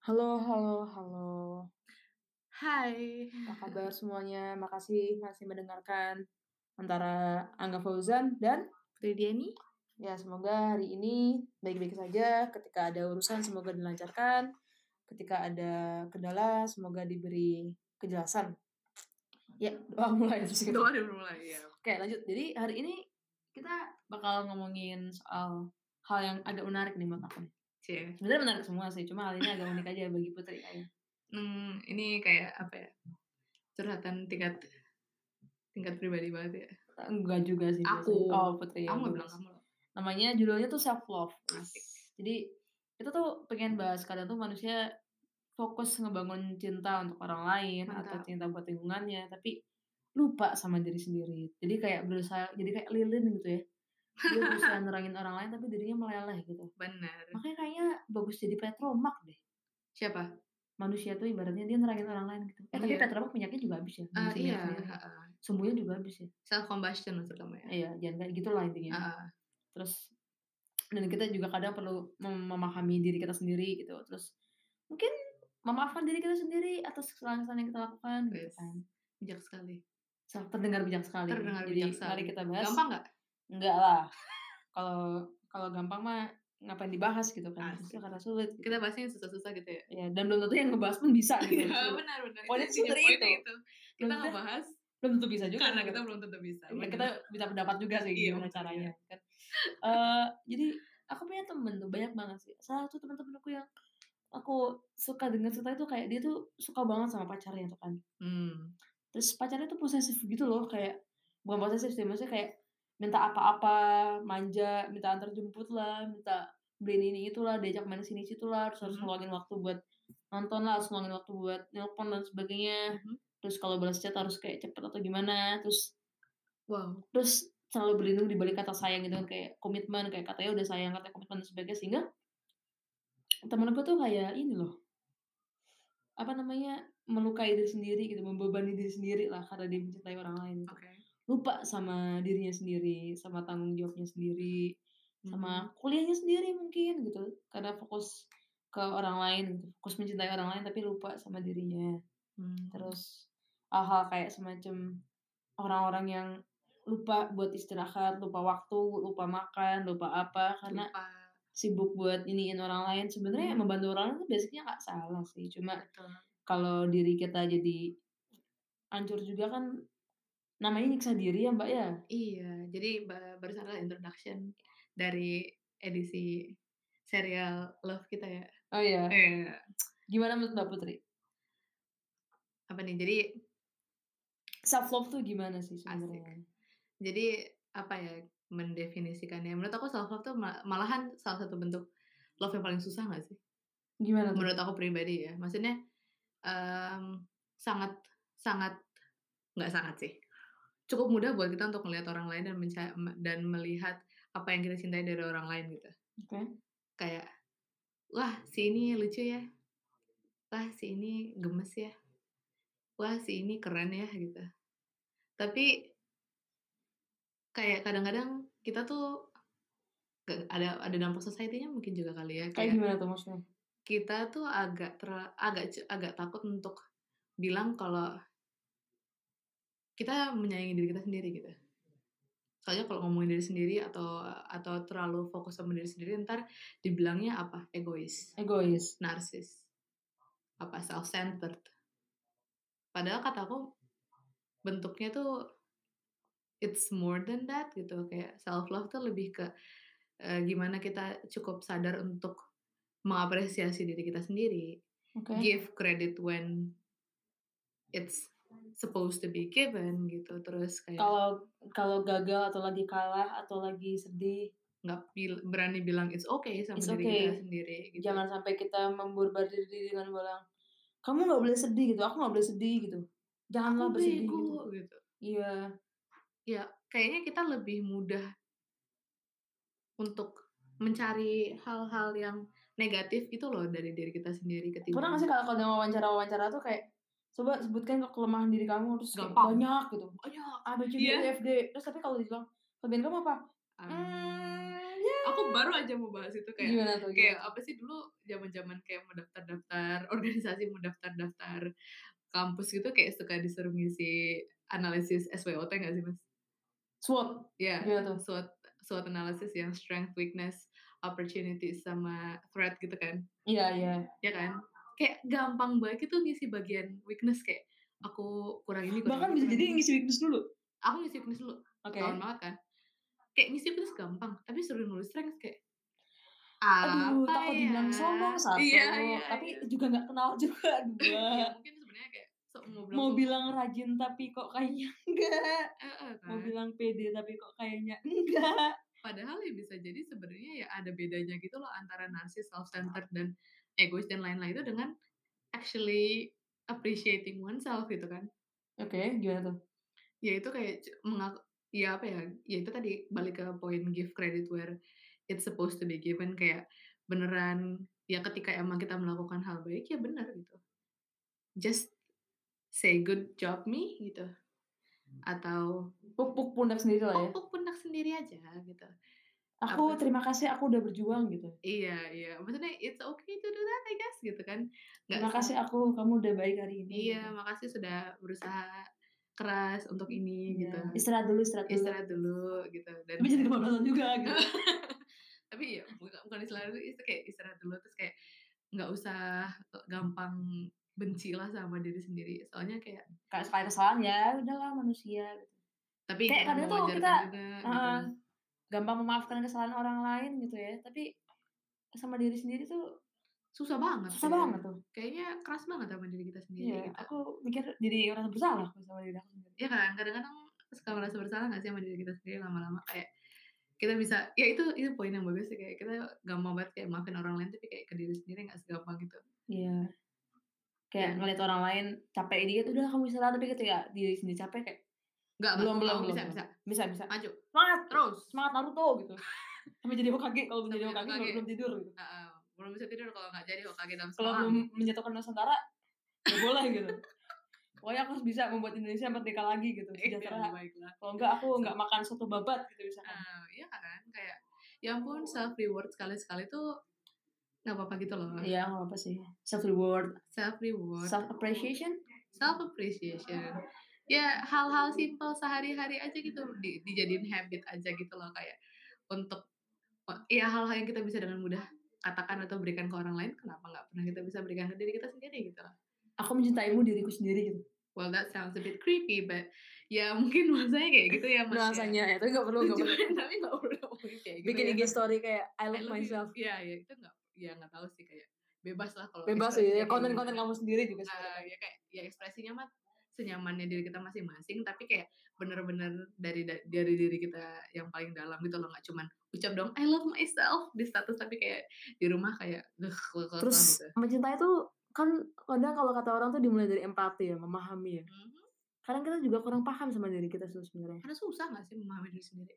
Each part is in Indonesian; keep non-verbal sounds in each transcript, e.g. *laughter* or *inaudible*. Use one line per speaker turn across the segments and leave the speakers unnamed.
halo halo.
Hai.
Apa kabar semuanya? Makasih masih mendengarkan antara Angga Fauzan dan
Fridiani.
ya semoga hari ini baik-baik saja. Ketika ada urusan semoga dilancarkan. Ketika ada kendala semoga diberi kejelasan. Ya, doa mulai.
Doa udah mulai ya.
Oke, lanjut. Jadi hari ini kita bakal ngomongin soal hal yang agak menarik nih buat aku. nih.
Cie.
Sebenarnya menarik semua sih, cuma hal ini agak unik aja bagi Putri kayaknya.
Hmm, ini kayak apa ya? Curhatan tingkat tingkat pribadi banget ya.
Enggak juga sih.
Aku.
biasanya. Oh, Putri. ya,
Kamu gak
bagus.
bilang kamu loh.
Namanya judulnya tuh self love.
Asik.
Jadi kita tuh pengen bahas kadang tuh manusia fokus ngebangun cinta untuk orang lain atau
Mantap.
cinta buat lingkungannya, tapi lupa sama diri sendiri. Jadi kayak berusaha, jadi kayak lilin gitu ya. Dia
*laughs*
berusaha nerangin orang lain tapi dirinya meleleh gitu.
Benar.
Makanya kayaknya bagus jadi Petromak deh.
Siapa?
Manusia tuh ibaratnya dia nerangin orang lain gitu. Eh tapi
Iya.
Petromak minyaknya juga habis ya.
Ah,
Minyak
iya,
sendiri.
heeh.
Sumbunya juga habis ya.
self combustion maksud kamu ya.
Iya, jangan kayak gitu lah intinya.
Heeh.
terus dan kita juga kadang perlu mem- memahami diri kita sendiri gitu terus mungkin memaafkan diri kita sendiri atas kesalahan-kesalahan yang kita lakukan gitu
Yes.
kan
bijak sekali.
So, terdengar bijak sekali
Terdengar
Jadi,
bijak sekali.
mari kita bahas
Gampang nggak?
enggak lah kalau kalau gampang mah ngapain dibahas gitu kan
Asik.
Justru karena sulit gitu.
Kita bahasnya yang susah-susah gitu ya.
ya dan belum tentu yang ngebahas pun bisa gitu
Iya,
Justru.
benar benar.
Poinnya
Itu intinya
seperti
poinnya
itu.
itu. Kita
Maksudnya,
nggak bahas
belum tentu bisa juga
karena
gitu.
kita belum tentu bisa.
Ya,
Benar.
kita bisa pendapat juga sih
Iya,
gimana
bener,
caranya kan Eh, jadi aku punya temen tuh banyak banget sih salah satu temen-temen aku yang aku suka dengar cerita itu kayak dia tuh suka banget sama pacarnya tuh kan
Hmm.
terus pacarnya tuh posesif gitu loh kayak bukan posesif sih maksudnya kayak minta apa-apa manja minta antar jemput lah minta beliin ini itulah diajak main sini situ lah terus harus
Mhm.
ngeluangin waktu buat nonton lah harus ngeluangin waktu buat nelpon dan sebagainya
Mhm.
terus kalau balas chat harus kayak cepet atau gimana terus
Wow.
terus selalu berlindung di balik kata sayang gitu kan kayak komitmen kayak katanya udah sayang katanya komitmen dan sebagainya sehingga temen gue tuh kayak ini loh apa namanya melukai diri sendiri gitu membebani diri sendiri lah karena dia mencintai orang lain gitu.
Oke.
lupa sama dirinya sendiri sama tanggung jawabnya sendiri
Hmm.
sama kuliahnya sendiri mungkin gitu karena fokus ke orang lain gitu fokus mencintai orang lain tapi lupa sama dirinya
Hmm.
terus hal-hal kayak semacam orang-orang yang lupa buat istirahat, lupa waktu, lupa makan, lupa apa karena
Lupa.
sibuk buat iniin orang lain. Sebenarnya
Hmm.
membantu orang lain itu basicnya nggak salah sih. Cuma
Betul.
kalau diri kita jadi hancur juga kan namanya nyiksa diri ya mbak ya.
Iya, jadi ba- barusan adalah introduction dari edisi serial Love kita ya.
Oh iya.
Eh,
Gimana menurut mbak Putri?
apa nih? Jadi
Self love tuh gimana sih sebenarnya?
jadi apa ya mendefinisikannya? Menurut aku self love tuh ma- malahan salah satu bentuk love yang paling susah nggak sih?
Gimana tuh?
Menurut aku pribadi ya. Maksudnya em, sangat sangat nggak sangat sih. Cukup mudah buat kita untuk melihat orang lain dan menca- dan melihat apa yang kita cintai dari orang lain gitu.
Oke.
kayak wah si ini lucu ya wah si ini gemes ya wah si ini keren ya gitu tapi kayak kadang-kadang kita tuh gak- ada ada dampak society-nya mungkin juga kali ya
Kayak
kayak
gimana tuh maksudnya?
kita tuh agak terla- agak cu- agak takut untuk bilang kalau kita menyayangi diri kita sendiri gitu soalnya kalau ngomongin diri sendiri atau atau terlalu fokus sama diri sendiri ntar dibilangnya apa egois
Egois.
narsis apa self centered padahal kataku bentuknya tuh it's more than that gitu kayak self love tuh lebih ke eh, gimana kita cukup sadar untuk mengapresiasi diri kita sendiri
Oke.
give credit when it's supposed to be given gitu terus kayak
Kalau kalau gagal atau lagi kalah atau lagi sedih
nggak bil- berani bilang it's okay sama
It's
diri kita
okay.
sendiri gitu.
jangan sampai kita memburbar diri dengan bilang kamu nggak boleh sedih gitu aku nggak boleh sedih gitu janganlah
Aku
bersedih
bego,
gitu
gitu.
iya
ya kayaknya kita lebih mudah untuk mencari hal-hal yang negatif gitu loh dari diri kita sendiri ketimbang
pernah nggak sih kalau kalau dalam wawancara wawancara tuh kayak coba sebutkan kelemahan diri kamu terus kayak
Gampang.
banyak gitu
banyak
A B C D
Iya.
E F D terus tapi kalau dibilang kelebihan kamu apa
Ah,
hmm
aku baru aja mau bahas itu kayak
gimana tuh
kayak
gimana?
apa sih dulu zaman-zaman kayak mau daftar-daftar *laughs* organisasi mau daftar-daftar kampus gitu kayak suka disuruh ngisi analisis SWOT nggak sih mas?
SWOT
Ya,
gimana tuh
SWOT SWOT analysis yang strength, weakness, opportunity sama threat gitu kan?
iya iya
Ya kan? Kayak gampang banget itu ngisi bagian weakness kayak aku kurang ini kurang
bahkan
ini,
bisa
kurang
jadi
ini.
ngisi weakness dulu
aku ngisi weakness dulu
oke
gitu kan. tahun banget kan kayak ngisi weakness gampang tapi suruh nulis strength kayak apa
aduh takut
ya?
dibilang sombong satu
iya, iya,
tapi iya.
iya.
juga nggak kenal *laughs* juga dua
ya mungkin sebenarnya kayak sok mau bilang
mau
sok-
bilang rajin tapi kok kayaknya *laughs* enggak
eh, eh,
mau
kan.
bilang pede tapi kok kayaknya enggak
padahal ya bisa jadi sebenarnya ya ada bedanya gitu loh antara narsis self centered dan egois dan lain-lain itu dengan actually appreciating oneself gitu kan
oke gimana tuh
ya itu kayak c- mengaku ya apa ya ya itu tadi balik ke poin give credit where it's supposed to be given kayak beneran ya ketika emang kita melakukan hal baik ya benar gitu just say good job me gitu atau
puk-puk pundak sendiri lah Hmm. ya
pokok pundak sendiri aja gitu
aku
apa?
terima kasih aku udah berjuang gitu
Iya, iya. Maksudnya it's okay to do that, I guess, gitu kan. Nggak
terima kasih aku kamu udah baik hari ini
Iya,
gitu.
makasih sudah berusaha keras untuk
Iya.
ini, gitu.
istirahat dulu istirahat dulu
Istirahat dulu, gitu. Dan,
tapi jadi kebablasan juga *laughs* gitu
tapi ya, bukan, bukan istirahat dulu, itu kayak istirahat dulu. Terus kayak nggak usah eh, gampang benci lah sama diri sendiri. Soalnya kayak,
kayak sekali kesalahan ya udahlah manusia gitu.
tapi
Kayak
jangan
kadang tuh
mewajarkan
kita-
juga,
Heeh.
gitu.
gampang memaafkan kesalahan orang lain gitu ya tapi sama diri sendiri tuh
Susah banget.
susah
ya.
banget tuh
Kayaknya keras banget sama diri kita sendiri,
iya
gitu.
aku mikir jadi orang bersalah aku sama diri aku sendiri
ya kan kadang-kadang suka merasa bersalah nggak sih sama diri kita sendiri lama-lama kayak kita bisa ya itu itu poin yang bagus sih kayak kita gampang banget kayak maafin orang lain tapi kayak ke diri sendiri nggak segampang gitu
iya kayak ngeliat orang lain capek dikit udah kamu istirahat tapi ketika diri sendiri capek kayak
nggak
Belum,
Mas.
belum,
Kamu
belum,
bisa
belum.
bisa
bisa bisa
maju
semangat
terus
semangat Naruto gitu sampai jadi Hokage kalau belum jadi
Sampai jadi
Hokage kalau
Hokage.
belum tidur gitu
Ah, ah. belum bisa tidur kalau nggak jadi Hokage dalam
kalau
semalam *laughs*
belum menjatuhkan Nusantara nggak boleh gitu pokoknya aku harus bisa membuat Indonesia merdeka lagi gitu
Iya,
sejahtera
baiklah
kalau enggak aku nggak makan soto babat gitu misalkan
Ah, iya kan kayak ya ampun self reward sekali sekali tuh nggak apa-apa gitu loh
iya nggak apa sih self reward
self reward
self appreciation
self appreciation ya hal-hal simpel sehari-hari aja gitu di, dijadiin habit aja gitu loh kayak untuk ya hal-hal yang kita bisa dengan mudah katakan atau berikan ke orang lain kenapa nggak pernah kita bisa berikan ke diri kita sendiri gitu loh
aku mencintaimu diriku sendiri gitu
well that sounds a bit creepy but ya mungkin *laughs* nuansanya kayak gitu ya mas ya.
rasanya itu nggak perlu nggak
*laughs*
perlu
Cuman, tapi nggak perlu ngomongin kayak gitu
bikin
ya.
IG story kayak I
I
love
love you.
myself
ya ya itu nggak ya nggak tahu sih kayak bebas lah kalau
bebas
ekspresinya
ya
Iya, kayak
konten-konten
gimana.
kamu sendiri juga
Ah,
sebenarnya.
ya kayak ya ekspresinya mah senyamannya diri kita masing-masing tapi kayak bener-bener dari da- dari diri kita yang paling dalam gitu loh nggak cuman ucap dong I love myself di status tapi kayak di rumah kayak "Ugh, ugh, ugh,"
terus
gitu.
mencintai tuh kan kadang kalau kata orang tuh dimulai dari empati ya memahami ya
Mhm.
kadang kita juga kurang paham sama diri kita tuh sebenarnya
karena susah nggak sih memahami diri sendiri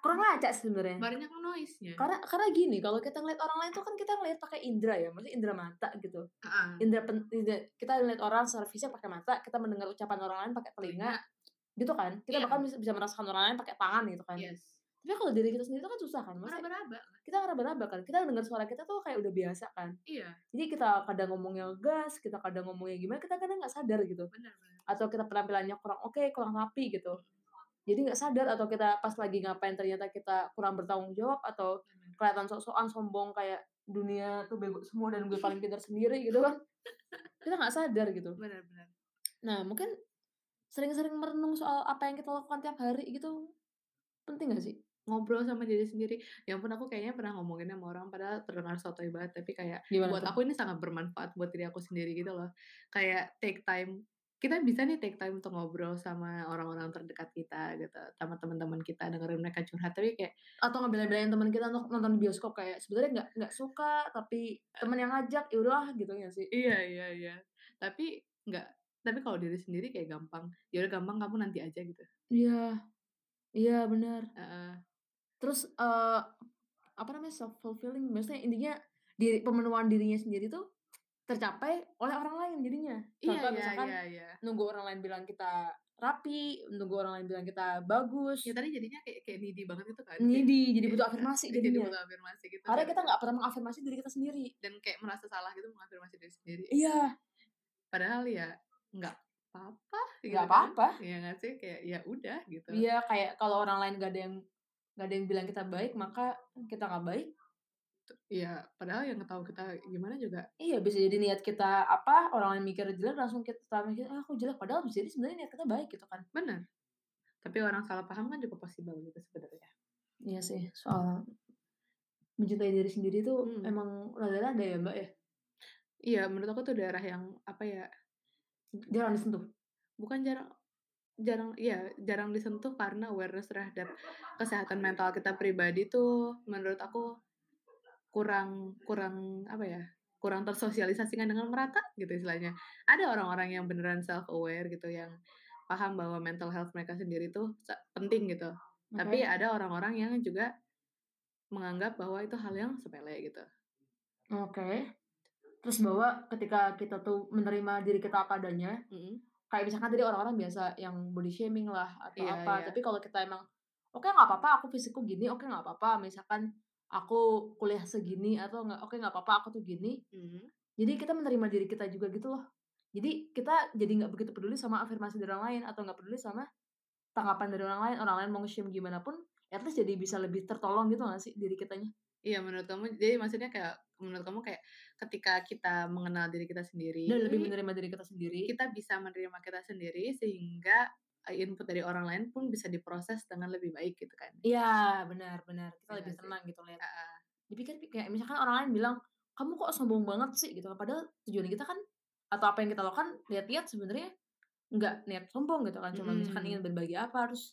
kurang ngajak sih sebenarnya
banyak noise-nya
karena karena gini kalau kita ngeliat orang lain tuh kan kita ngeliat pakai indera ya maksudnya indera mata gitu
Ah,
indera, pen- indera- kita ngeliat orang secara fisik pakai mata kita mendengar ucapan orang lain pakai telinga gitu kan kita
Iya.
bahkan bisa, bisa merasakan orang lain pakai tangan gitu kan
yes
tapi kalau diri kita sendiri tuh kan susah kan maksudnya
meraba-raba
kita ngeraba-raba kan kita dengar suara kita tuh kayak udah biasa kan
iya
jadi kita kadang ngomongnya gas kita kadang ngomongnya gimana kita kadang nggak sadar gitu
benar-benar
atau kita penampilannya kurang oke kurang rapi gitu jadi nggak sadar atau kita pas lagi ngapain ternyata kita kurang bertanggung jawab atau kelihatan sok-sokan sombong kayak dunia tuh bego semua dan gue paling pintar sendiri gitu kan kita nggak sadar gitu
benar-benar
nah mungkin sering-sering merenung soal apa yang kita lakukan tiap hari gitu penting gak sih
ngobrol sama diri sendiri ya ampun aku kayaknya pernah ngomongin sama orang padahal terdengar sotoy banget tapi kayak
gimana
buat
tuh?
aku ini sangat bermanfaat buat diri aku sendiri gitu loh kayak take time kita bisa nih take time untuk ngobrol sama orang-orang terdekat kita gitu sama teman-teman kita dengerin mereka curhat tapi kayak
atau ngebelain-belain teman kita untuk nonton bioskop kayak sebenarnya nggak nggak suka tapi teman yang ngajak ya udahlah gitu ya sih
iya iya iya tapi nggak tapi kalau diri sendiri kayak gampang ya udah gampang kamu nanti aja gitu
iya iya benar
Heeh.
terus eh apa namanya self fulfilling maksudnya intinya diri, pemenuhan dirinya sendiri tuh tercapai oleh orang lain jadinya
iya
contoh
iya
misalkan
iya iya
nunggu orang lain bilang kita rapi, menunggu orang lain bilang kita bagus.
ya tadi jadinya kayak kayak needy banget itu kan kayak-
Jadi *laughs* jadi
kayak-
butuh afirmasi
jadi
jadinya.
butuh afirmasi gitu
Karena
dan-
kita nggak pernah mengafirmasi diri kita sendiri.
dan kayak merasa salah gitu mengafirmasi diri sendiri
Iya,
padahal ya nggak apa-apa gitu
nggak
kan.
apa-apa.
ya nggak sih kayak ya udah gitu
Iya, kayak kalau orang lain gak ada yang gak ada yang bilang kita baik, maka kita nggak baik.
ya padahal yang tahu kita gimana juga
Iya, bisa jadi niat kita apa, orang lain mikir jelek, langsung kita mikir, ah aku jelek. Padahal bisa jadi sebenarnya niat kita baik gitu kan.
benar tapi orang salah paham kan juga possible gitu sebenarnya
Iya sih, soal mencintai diri sendiri tuh
Hmm.
emang rada-rada ya mbak ya.
iya menurut aku tuh daerah yang apa ya
Jarang disentuh.
bukan jarang jarang ya jarang disentuh karena awareness terhadap kesehatan mental kita pribadi tuh menurut aku kurang kurang apa ya kurang tersosialisasikan dengan merata gitu istilahnya ada orang-orang yang beneran self aware gitu yang paham bahwa mental health mereka sendiri tuh sa- penting gitu tapi
Oke.
ada orang-orang yang juga menganggap bahwa itu hal yang sepele gitu
Oke. Terus bahwa ketika kita tuh menerima diri kita apa adanya,
Mm-mm.
kayak misalkan tadi orang-orang biasa yang body shaming lah atau
Iya,
apa
iya.
tapi kalau kita emang oke nggak apa-apa aku fisikku gini oke nggak apa-apa misalkan aku kuliah segini atau nggak oke nggak apa-apa aku tuh gini
Mm.
jadi kita menerima diri kita juga gitu loh jadi kita jadi nggak begitu peduli sama afirmasi dari orang lain atau nggak peduli sama tanggapan dari orang lain orang lain mau nge-shame gimana pun at least jadi bisa lebih tertolong gitu nggak sih diri kitanya
iya menurut kamu jadi maksudnya kayak menurut kamu kayak ketika kita mengenal diri kita sendiri
dan lebih menerima diri kita sendiri
kita bisa menerima kita sendiri sehingga eh, input dari orang lain pun bisa diproses dengan lebih baik gitu kan.
Iya benar-benar kita
Iya
lebih
sih.
tenang gitu lihat
Ah,
dipikir kayak misalkan orang lain bilang kamu kok sombong banget sih gitu padahal tujuan kita kan atau apa yang kita lakukan lihat-lihat sebenarnya nggak niat sombong gitu kan cuma misalkan
Mm-mm.
ingin berbagi apa harus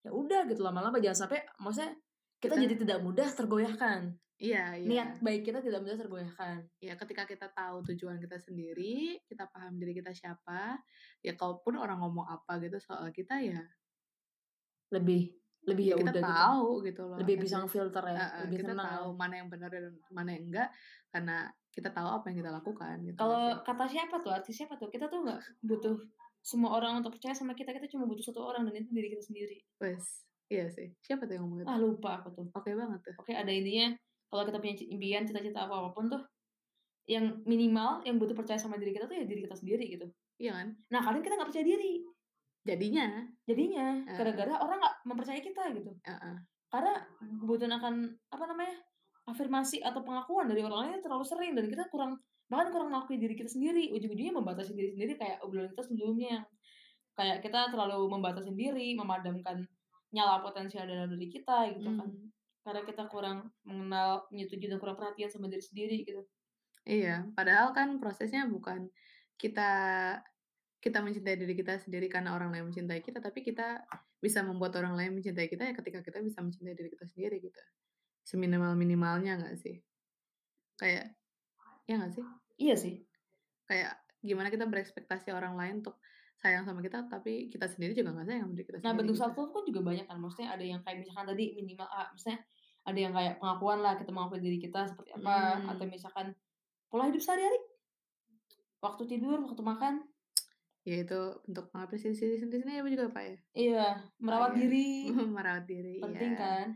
ya udah gitu lama-lama jangan sampai maksudnya kita,
Kita-
jadi tidak mudah tergoyahkan
Iya, iya.
niat baik kita tidak mudah tergoyahkan
Ya, ketika kita tahu tujuan kita sendiri, kita paham diri kita siapa, ya kalaupun orang ngomong apa gitu soal kita ya,
lebih lebih ya
Iya, kita
udah gitu
tahu gitu loh.
lebih
at
bisa
least.
filter ya
Ah, ah,
lebih
kita
tenang ya.
tahu mana yang benar dan mana yang enggak karena kita tahu apa yang kita lakukan gitu. nggak
kalau
sih?
kata siapa tuh artis siapa tuh kita tuh nggak butuh semua orang untuk percaya sama kita kita cuma butuh satu orang dan itu diri kita sendiri
Wes, iya sih. Siapa tuh yang ngomong gitu?
ah lupa aku tuh
Oke banget tuh.
Oke, ada intinya kalau kita punya impian, cita-cita apa apapun tuh yang minimal yang butuh percaya sama diri kita tuh ya diri kita sendiri gitu.
Iya kan?
Nah, kadang kita nggak percaya diri.
Jadinya,
Jadinya
Ah.
gara-gara orang nggak mempercayai kita gitu.
ah, ah.
Karena kebutuhan akan apa namanya? afirmasi atau pengakuan dari orang lain terlalu sering dan kita kurang bahkan kurang mengakui diri kita sendiri ujung-ujungnya membatasi diri sendiri kayak obrolan kita sebelumnya kayak kita terlalu membatasi diri memadamkan nyala potensial dalam diri kita gitu kan
Mm.
karena kita kurang mengenal menyetujui dan kurang perhatian sama diri sendiri gitu
Iya, padahal kan prosesnya bukan kita kita mencintai diri kita sendiri karena orang lain mencintai kita, tapi kita bisa membuat orang lain mencintai kita ya ketika kita bisa mencintai diri kita sendiri gitu. Seminimal minimalnya nggak sih? Kayak ya nggak sih?
iya sih
Kayak gimana kita berekspektasi orang lain untuk sayang sama kita, tapi kita sendiri juga nggak sayang sama diri kita
nah
sendiri.
bentuk
gitu.
self love kan juga banyak kan maksudnya ada yang kayak misalkan tadi minimal ah, maksudnya ada yang kayak pengakuan lah kita mengakui diri kita seperti apa
Hmm.
atau misalkan pola hidup sehari-hari waktu tidur waktu makan
Ya itu untuk mengapresiasi diri sendiri sendiri apa juga pak ya?
iya merawat
iya.
diri
*laughs* Merawat diri.
penting
ya.
kan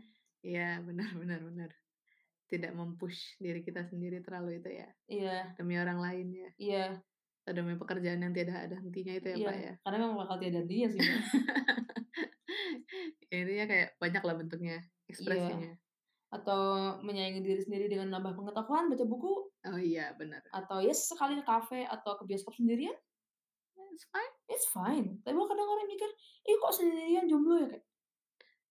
Iya, benar benar benar. Tidak mempush diri kita sendiri terlalu itu ya.
iya
Demi orang lain ya.
iya
Atau demi pekerjaan yang tidak ada hentinya itu ya,
iya
Pak ya.
karena memang bakal tiada dia sih
*laughs*
Mbak.
Intinya kayak banyak lah bentuknya,
Iya.
ekspresinya.
atau menyayangi diri sendiri dengan nambah pengetahuan baca buku
Oh iya, benar.
atau ya sekali ke kafe atau ke bioskop sendirian
It's fine.
it's fine. Tapi kadang orang mikir, ih kok sendirian jomblo ya kayak,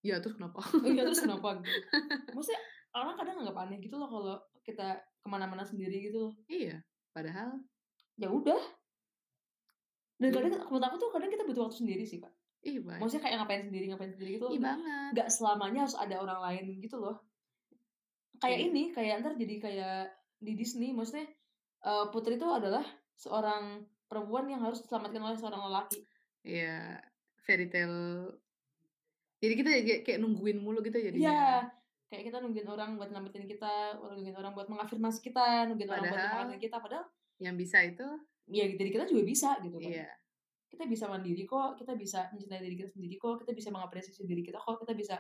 Ya terus kenapa?
"Oh
*laughs*
iya terus kenapa gitu. *laughs* Maksudnya orang kadang nggak aneh gitu loh kalau kita kemana-mana sendiri gitu loh.
iya, padahal
Ya udah. Dan
Iya.
kadang menurut aku tuh kadang kita butuh waktu sendiri sih kak.
ih banget.
Maksudnya kayak ngapain sendiri ngapain sendiri gitu. Loh.
Ih banget.
Nggak selamanya harus ada orang lain gitu loh. Kayak
Iya.
ini kayak ntar jadi kayak di Disney. Maksudnya eh, Putri itu adalah seorang perempuan yang harus diselamatkan oleh seorang lelaki.
Iya, fairy tale. Jadi kita kayak, kayak nungguin mulu gitu jadinya.
Iya, kayak kita nungguin orang buat nyelamatin kita, orang nungguin orang buat mengafirmasi kita, nungguin orang buat
Padahal-
memperhatikan kita padahal
Yang bisa itu,
ya dari kita juga bisa gitu kan.
iya.
Kita kita bisa mandiri kok kita bisa mencintai diri kita sendiri kok kita bisa mengapresiasi diri kita kok kita bisa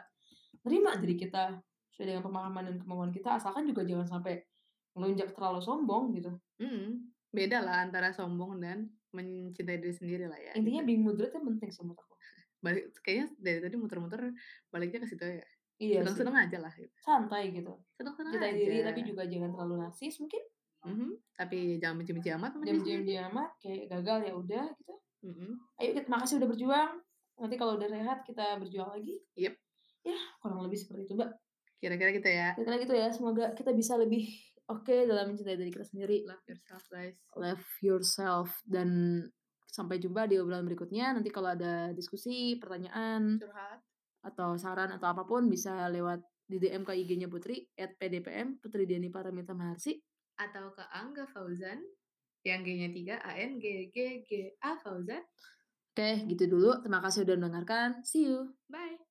terima diri kita sesuai dengan pemahaman dan kemauan kita asalkan juga jangan sampai melunjak terlalu sombong gitu
Mm, beda lah antara sombong dan mencintai diri sendiri lah ya.
intinya
gitu.
being moderate yang penting sih menurut aku
Balik- kayaknya dari tadi muter-muter baliknya ke situ ya.
iya sih.
Seneng-seneng aja lah. Gitu.
santai gitu
Seneng-seneng
cintai
aja.
diri tapi juga jangan terlalu narsis mungkin
Mhm, tapi jangan benci-benci amat sama diri
jam-jam
sendiri.
dia amat kayak gagal ya udah gitu
Mhm.
ayo kita makasih udah berjuang nanti kalau udah rehat kita berjuang lagi
Yep.
ya kurang lebih seperti itu mbak
Kira-kira kita ya.
kira gitu ya semoga kita bisa lebih oke dalam mencintai diri kita sendiri
Love yourself guys.
love yourself dan sampai jumpa di obrolan berikutnya nanti kalau ada diskusi pertanyaan
Curhat.
atau saran atau apapun bisa lewat di DM ke IG-nya Putri at PDPM Putri Diani Paramita Maharsi
Atau ke Angga Fauzan. Yang G-nya 3. A-N-G-G-G-A Fauzan.
oke gitu dulu terima kasih udah mendengarkan see you
Bye.